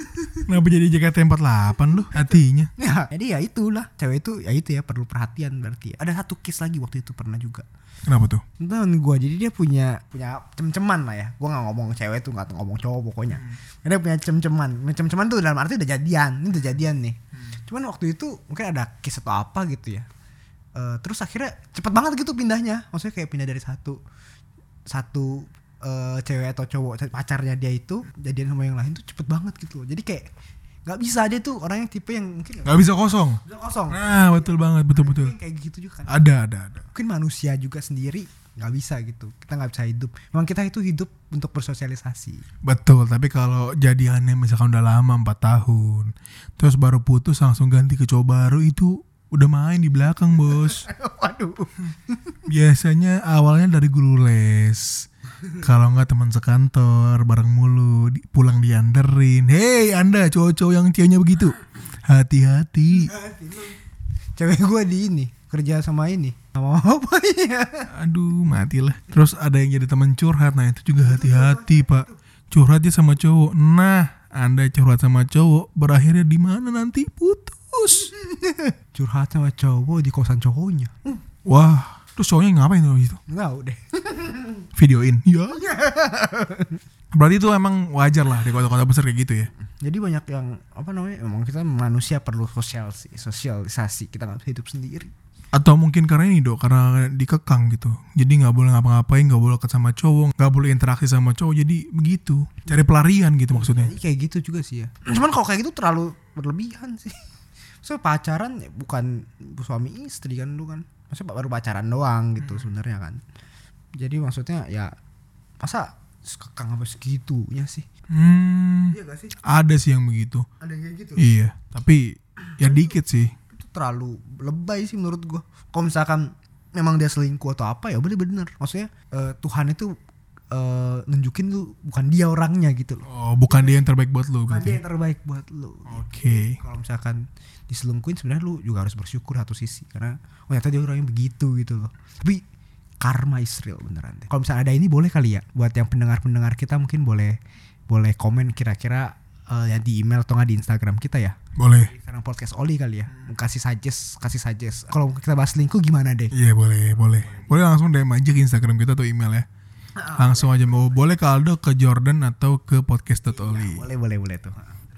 Speaker 1: Kenapa jadi JKT48 lu? Hatinya.
Speaker 2: ya jadi ya itulah cewek itu ya itu ya perlu perhatian berarti ya. ada satu case lagi waktu itu pernah juga
Speaker 1: Kenapa tuh?
Speaker 2: teman gua jadi dia punya punya cem-ceman lah ya gua nggak ngomong cewek tuh nggak ngomong cowok pokoknya dia punya cem-ceman cem-ceman tuh dalam arti udah jadian ini udah jadian nih cuman waktu itu mungkin ada case atau apa gitu ya Eh, terus akhirnya cepet banget gitu pindahnya maksudnya kayak pindah dari satu satu eh, cewek atau cowok pacarnya dia itu jadian sama yang lain tuh cepet banget gitu loh jadi kayak nggak bisa dia tuh orang yang tipe yang mungkin
Speaker 1: Gak bisa kosong.
Speaker 2: bisa kosong
Speaker 1: Nah, betul banget, betul-betul.
Speaker 2: kayak gitu juga kan
Speaker 1: Ada, ada, ada.
Speaker 2: mungkin manusia juga sendiri nggak bisa gitu kita nggak bisa hidup memang kita itu hidup untuk bersosialisasi
Speaker 1: Betul, tapi kalau jadiannya misalkan udah lama 4 tahun, terus baru putus langsung ganti ke cowok baru itu udah main di belakang, Bos.
Speaker 2: waduh
Speaker 1: Biasanya awalnya dari guru les. Kalau nggak teman sekantor bareng mulu, di- pulang dianderin. Hei, Anda cowok-cowok yang ceweknya begitu. Hati-hati.
Speaker 2: cewek gue di ini kerja sama ini sama apa ya
Speaker 1: Aduh, matilah. Terus ada yang jadi teman curhat. Nah, itu juga hati-hati, Pak. Curhatnya sama cowok. Nah, Anda curhat sama cowok, berakhirnya di mana nanti? Putus.
Speaker 2: curhat sama cowok di kosan cowoknya
Speaker 1: Wah, terus cowoknya ngapain tuh itu?
Speaker 2: nggak udah
Speaker 1: Videoin. Ya. Berarti itu emang wajar lah di kota-kota besar kayak gitu ya.
Speaker 2: jadi banyak yang apa namanya emang kita manusia perlu sosial sosialisasi kita nggak bisa hidup sendiri
Speaker 1: Atau mungkin karena ini dok, karena dikekang gitu. Jadi nggak boleh ngapa-ngapain, nggak boleh deket sama cowok, nggak boleh interaksi sama cowok. Jadi begitu, cari pelarian gitu maksudnya.
Speaker 2: jadi kayak gitu juga sih ya cuman kalau kayak gitu terlalu berlebihan sih so pacaran ya bukan suami istri kan lu kan maksudnya baru pacaran doang gitu sebenarnya kan jadi maksudnya ya masa kekang apa segitunya sih
Speaker 1: Hmm,
Speaker 2: iya gak sih
Speaker 1: ada sih yang begitu.
Speaker 2: ada yang kayak gitu
Speaker 1: Iya, tapi ya dikit sih.
Speaker 2: itu terlalu lebay sih menurut gua kalau misalkan memang dia selingkuh atau apa ya boleh bener maksudnya eh, Tuhan itu eh, nunjukin lu bukan dia orangnya gitu loh Oh,
Speaker 1: Oh, bukan dia yang terbaik buat lo
Speaker 2: bukan dia
Speaker 1: berarti.
Speaker 2: yang terbaik buat lu
Speaker 1: Oke.
Speaker 2: kalau misalkan diselingkuhin sebenarnya lu juga harus bersyukur satu sisi karena oh ternyata dia orangnya begitu gitu loh tapi karma is real beneran deh kalau misalnya ada ini boleh kali ya buat yang pendengar-pendengar kita mungkin boleh boleh komen kira-kira eh, ya di email atau nggak di Instagram kita ya
Speaker 1: Boleh.
Speaker 2: Instagram podcast Oli kali ya kasih suggest kasih suggest kalau kita bahas selingkuh gimana deh
Speaker 1: Iya, boleh, boleh. Boleh langsung DM aja ke Instagram kita atau email ya. Langsung aja mau boleh ke Aldo ke Jordan atau ke podcast.oli
Speaker 2: boleh boleh boleh tuh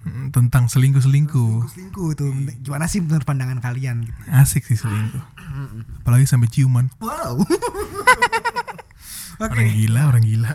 Speaker 1: Hmm, tentang selingkuh-selingkuh.
Speaker 2: selingkuh tuh gimana sih menurut pandangan kalian gitu
Speaker 1: Asik sih selingkuh. Apalagi sampai ciuman.
Speaker 2: wow
Speaker 1: Orang gila, orang gila.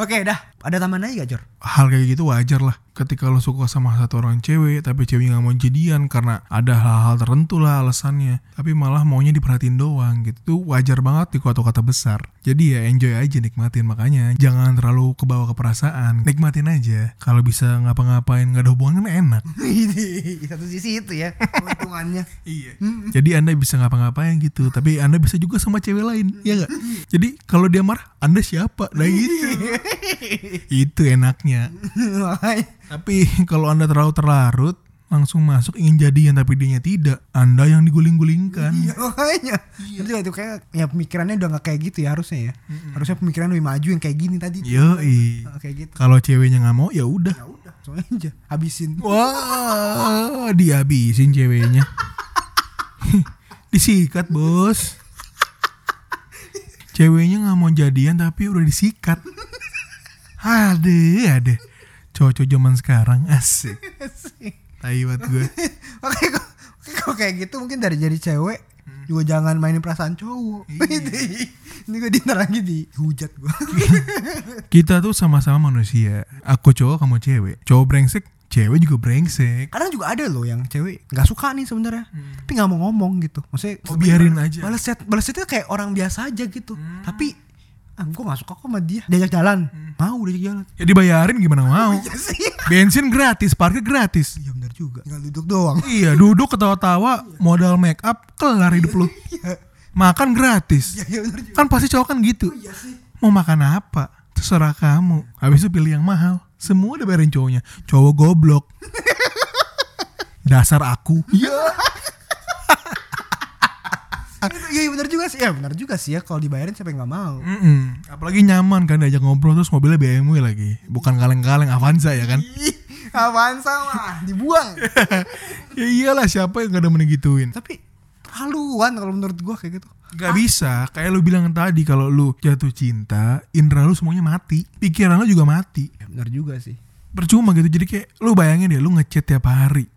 Speaker 2: Oke Oke, dah. Ada tambahan lagi gak, Jor?
Speaker 1: hal kayak gitu wajar lah ketika lo suka sama satu orang cewek tapi cewek nggak mau jadian karena ada hal-hal tertentu lah alasannya tapi malah maunya diperhatiin doang gitu Itu wajar banget di kata-kata besar jadi ya enjoy aja nikmatin makanya jangan terlalu kebawa ke perasaan nikmatin aja kalau bisa ngapa-ngapain nggak ada hubungan kan enak
Speaker 2: Di satu sisi itu ya, keuntungannya.
Speaker 1: Iya. Jadi Anda bisa ngapa-ngapain gitu, tapi Anda bisa juga sama cewek lain, ya nggak? Jadi kalau dia marah, Anda siapa? Nah gitu. Itu enaknya.
Speaker 2: Makanya.
Speaker 1: Tapi kalau Anda terlalu terlarut, langsung masuk ingin jadian tapi dianya tidak, Anda yang diguling-gulingkan.
Speaker 2: Iya, makanya. Itu itu kayak ya pemikirannya udah gak kayak gitu ya harusnya ya. Harusnya pemikiran lebih maju yang kayak gini tadi.
Speaker 1: Yoi.
Speaker 2: Nah, kayak gitu.
Speaker 1: Kalau ceweknya nggak mau, ya udah.
Speaker 2: Ya udah, soalnya aja habisin.
Speaker 1: Wah, dihabisin ceweknya. disikat, Bos. Ceweknya nggak mau jadian tapi udah disikat. Ade, ade. Cowok-cowok zaman sekarang asik. Tai banget gue.
Speaker 2: Oke, kok kok kayak gitu mungkin dari jadi cewek juga jangan mainin perasaan cowok. Ini gue dintar lagi di hujat gue.
Speaker 1: Kita tuh sama-sama manusia. Aku cowok, kamu cewek. Cowok brengsek, cewek juga brengsek.
Speaker 2: Kadang juga ada loh yang cewek nggak suka nih sebenarnya, tapi nggak mau ngomong gitu. Maksudnya
Speaker 1: Hmm. Oh, biarin aja. Hmm.
Speaker 2: Balas chat, balas chatnya kayak orang biasa aja gitu. Tapi ah, gue nggak suka kok sama dia. Diajak jalan, mau diajak jalan.
Speaker 1: Ya dibayarin gimana mau.
Speaker 2: Iya sih.
Speaker 1: Bensin gratis, parkir gratis.
Speaker 2: Iya benar juga. Tinggal duduk doang.
Speaker 1: Iya, duduk ketawa-tawa, modal make up, kelar hidup lu. Makan gratis.
Speaker 2: Iya, iya benar juga. Oh, iya
Speaker 1: Kan pasti cowok kan gitu. Mau makan apa? Terserah kamu. Habis itu pilih yang mahal. Semua udah bayarin cowoknya. Cowok goblok. Dasar aku. Iya.
Speaker 2: Iya benar juga sih. Ya benar juga sih ya kalau dibayarin siapa yang nggak mau.
Speaker 1: Mm-mm. Apalagi nyaman kan diajak ngobrol terus mobilnya BMW lagi. Bukan kaleng-kaleng Avanza ya kan?
Speaker 2: Ih, apaan sama? Dibuang.
Speaker 1: ya iyalah siapa yang gak ada menegituin.
Speaker 2: tapi terlaluan kalau menurut gua kayak gitu
Speaker 1: Gak bisa, kayak lu bilang tadi kalau lu jatuh cinta, indra lu semuanya mati, pikiran lu juga mati.
Speaker 2: ya, benar juga sih
Speaker 1: percuma gitu jadi kayak lu bayangin deh lu ngechat tiap hari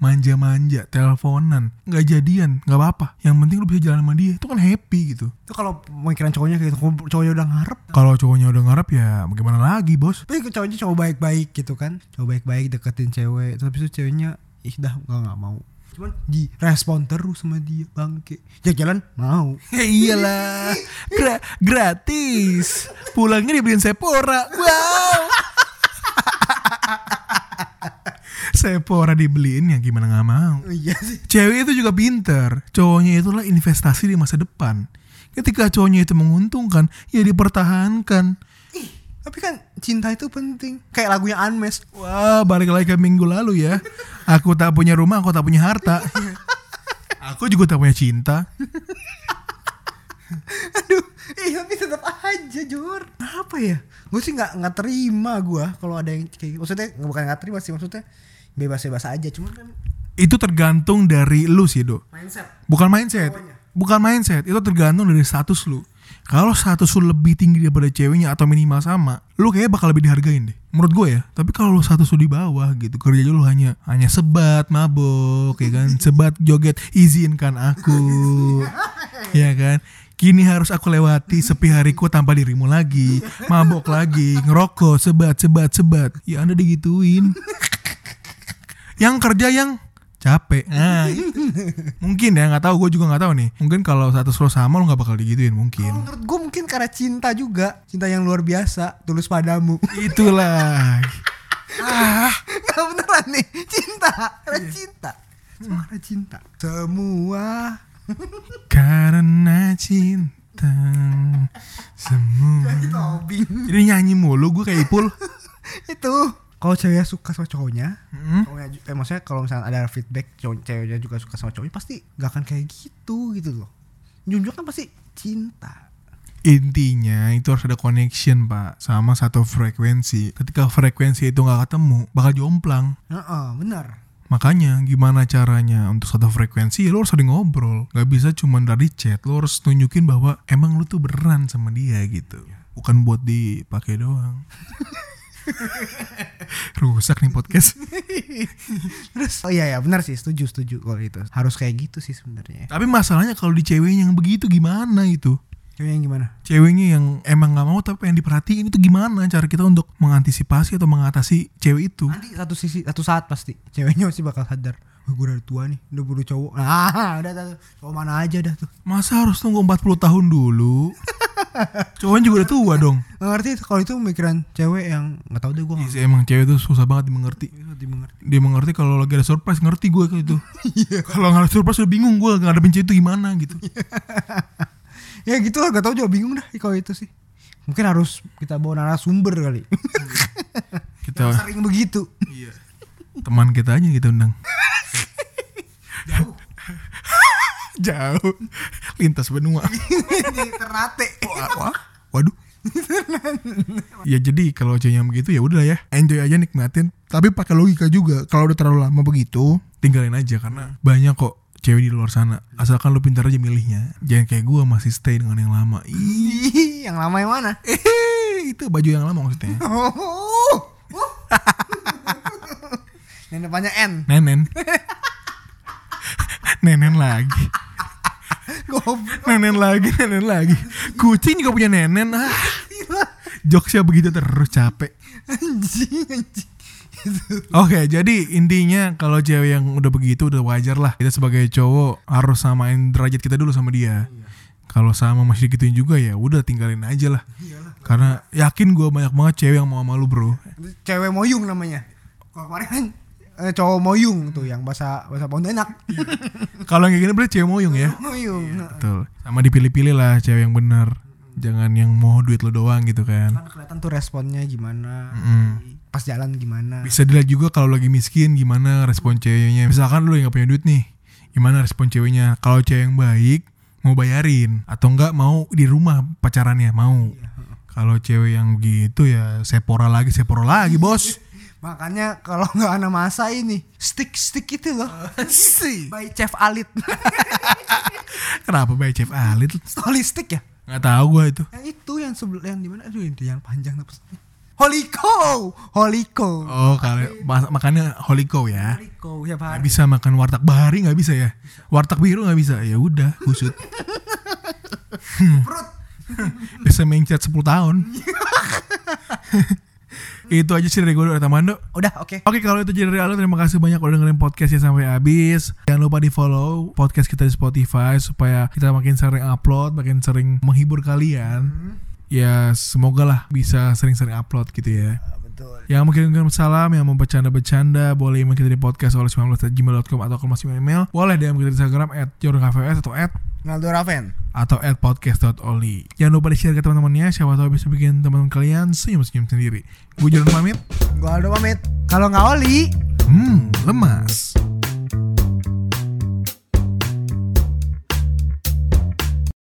Speaker 1: manja-manja teleponan nggak jadian nggak apa-apa yang penting lu bisa jalan sama dia itu kan happy gitu
Speaker 2: itu kalau pemikiran cowoknya kayak gitu kalau cowoknya udah ngarep
Speaker 1: kalau cowoknya udah ngarep ya bagaimana lagi bos
Speaker 2: tapi cowoknya cowok baik-baik gitu kan cowok baik-baik deketin cewek tapi itu ceweknya ih dah gua nggak mau cuman direspon terus sama dia bangke ya jalan mau
Speaker 1: ya iyalah Gra- gratis pulangnya dibeliin sepora wow sepora dibeliin ya gimana nggak mau
Speaker 2: iya sih
Speaker 1: Cewek itu juga pinter. Cowoknya itulah investasi di masa depan. Ketika cowoknya itu menguntungkan, ya dipertahankan.
Speaker 2: tapi kan cinta itu penting kayak lagunya Unmasked
Speaker 1: Wah, balik lagi ke minggu lalu ya. Aku tak punya rumah, aku tak punya harta. Aku juga tak punya cinta.
Speaker 2: aduh eh tapi tetap aja jur apa ya gue sih nggak nggak terima gua kalau ada yang kayak gitu. maksudnya bukan nggak terima sih maksudnya bebas-bebas aja cuman kan
Speaker 1: Itu tergantung dari lu sih, Do.
Speaker 2: mindset
Speaker 1: Bukan mindset. Bukan mindset, itu tergantung dari status lu. Kalau status lu lebih tinggi daripada ceweknya atau minimal sama, lu kayaknya bakal lebih dihargain deh. Menurut gue ya. Tapi kalau lu status lu di bawah gitu, kerja lu hanya hanya sebat mabok ya kan, sebat joget, izinkan aku. ya kan? Kini harus aku lewati sepi hariku tanpa dirimu lagi. Mabok lagi, ngerokok, sebat, sebat, sebat. Ya Anda digituin yang kerja yang capek nah, itu. mungkin ya nggak tahu gue juga nggak tahu nih mungkin kalau status lo sama lo nggak bakal digituin mungkin
Speaker 2: menurut gue mungkin karena cinta juga cinta yang luar biasa tulus padamu
Speaker 1: itulah
Speaker 2: nggak beneran nih cinta karena cinta semua karena cinta semua
Speaker 1: karena cinta semua
Speaker 2: tobing
Speaker 1: jadi nyanyi mulu gue kayak ipul
Speaker 2: itu kalau cewek suka sama cowoknya
Speaker 1: Hmm.
Speaker 2: cowoknya ju- eh, maksudnya kalau misalnya ada feedback cowok ceweknya juga suka sama cowoknya pasti nggak akan kayak gitu gitu loh jujur kan pasti cinta
Speaker 1: intinya itu harus ada connection pak sama satu frekuensi ketika frekuensi itu nggak ketemu bakal jomplang
Speaker 2: Heeh, benar
Speaker 1: Makanya gimana caranya untuk satu frekuensi ya lo harus sering ngobrol Gak bisa cuma dari chat Lo harus tunjukin bahwa emang lo tuh beran sama dia gitu Bukan buat dipakai doang Rusak nih podcast
Speaker 2: terus oh iya ya benar sih setuju setuju kalau itu harus kayak gitu sih sebenarnya
Speaker 1: Tapi masalahnya kalau di ceweknya yang begitu gimana itu
Speaker 2: Cewek yang gimana?
Speaker 1: ceweknya yang emang nggak mau tapi pengen diperhatiin itu gimana cara kita untuk mengantisipasi atau mengatasi cewek itu
Speaker 2: Nanti satu sisi satu saat pasti ceweknya pasti bakal sadar. Wah, gue udah tua nih, udah buru cowok. Ah, udah tuh. Cowok mana aja dah tuh.
Speaker 1: masa harus tunggu 40 tahun dulu cowoknya juga udah tua dong
Speaker 2: Nggak ngerti kalau itu pemikiran cewek yang nggak tahu deh gue
Speaker 1: Iya
Speaker 2: nggak
Speaker 1: sih, emang cewek itu susah banget dimengerti
Speaker 2: dimengerti.
Speaker 1: dia mengerti kalau lagi ada surprise ngerti gue kayak gitu kalau nggak ada surprise udah bingung gue nggak ada benci itu gimana gitu
Speaker 2: ya gitu lah gak tau juga bingung dah kalau itu sih mungkin harus kita bawa narasumber kali Yang
Speaker 1: kita
Speaker 2: sering begitu
Speaker 1: teman kita aja gitu, kita undang jauh jauh lintas benua
Speaker 2: Jadi terate
Speaker 1: Wah, waduh. ya jadi kalau ceweknya begitu ya udah ya enjoy aja nikmatin tapi pakai logika juga kalau udah terlalu lama begitu tinggalin aja karena banyak kok cewek di luar sana asalkan lu pintar aja milihnya jangan kayak gua masih stay dengan yang lama Ih,
Speaker 2: Ih, yang lama yang mana
Speaker 1: eh, itu baju yang lama maksudnya
Speaker 2: oh. yang depannya N
Speaker 1: nenen nenen lagi
Speaker 2: goblok
Speaker 1: nenen lagi nenen lagi kucing juga punya nenen ah jokesnya begitu terus capek
Speaker 2: anjing anjing Gitu.
Speaker 1: Oke, jadi intinya kalau cewek yang udah begitu udah wajar lah. Kita sebagai cowok harus samain derajat kita dulu sama dia. Kalau sama masih gituin juga ya udah tinggalin aja lah. Karena yakin gue banyak banget cewek yang mau sama lu bro.
Speaker 2: cewek moyung namanya kalau kemarin kan eh, cowok moyung tuh yang bahasa bahasa Pontianak
Speaker 1: Kalau yang kayak gini berarti cewek moyung ya.
Speaker 2: moyung Nah,
Speaker 1: Betul. Sama dipilih-pilih lah cewek yang bener. Jangan yang mau duit lo doang gitu kan.
Speaker 2: kan kelihatan tuh responnya gimana
Speaker 1: Mm.
Speaker 2: pas jalan gimana
Speaker 1: Bisa dilihat juga kalau lagi miskin gimana respon ceweknya. Misalkan lu yang gak punya duit nih, gimana respon ceweknya? Kalau cewek yang baik mau bayarin atau enggak mau di rumah pacarannya mau. Kalau cewek yang gitu ya sepora lagi sepora lagi bos.
Speaker 2: Makanya kalau nggak anak masa ini stick-stick itu loh.
Speaker 1: Sih.
Speaker 2: By Chef Alit.
Speaker 1: Kenapa bayi Chef Alit?
Speaker 2: Story stick ya?
Speaker 1: Nggak tahu gua itu.
Speaker 2: Yang itu yang sebelah yang di mana? Aduh, yang, yang panjang tuh pesannya. Holiko, Holiko.
Speaker 1: Oh kalau mas- makannya holiko ya.
Speaker 2: Holiko ya
Speaker 1: Nggak
Speaker 2: Pak.
Speaker 1: bisa makan warteg bahari nggak bisa ya. Warteg biru nggak bisa. Ya udah kusut.
Speaker 2: Perut.
Speaker 1: Bisa mencet 10 tahun. itu aja sih dari gue dari Tamando.
Speaker 2: Udah, oke.
Speaker 1: Oke kalau itu jadi real terima kasih banyak udah dengerin podcastnya sampai habis. Jangan lupa di follow podcast kita di Spotify supaya kita makin sering upload, makin sering menghibur kalian. Ya semoga lah bisa sering-sering upload gitu ya.
Speaker 2: Betul.
Speaker 1: Yang mungkin kirim salam, yang mau bercanda-bercanda, boleh email kita di podcast oleh 19.gmail.com atau kalau masih email, boleh DM kita di Instagram at jornkvs atau at
Speaker 2: Naldo Raven.
Speaker 1: atau at podcast.oli. Jangan lupa di-share ke teman-temannya, siapa tahu bisa bikin teman-teman kalian senyum-senyum sendiri. Gue Jordan pamit,
Speaker 2: Gua Aldo pamit. Kalau nggak Oli,
Speaker 1: hmm, lemas.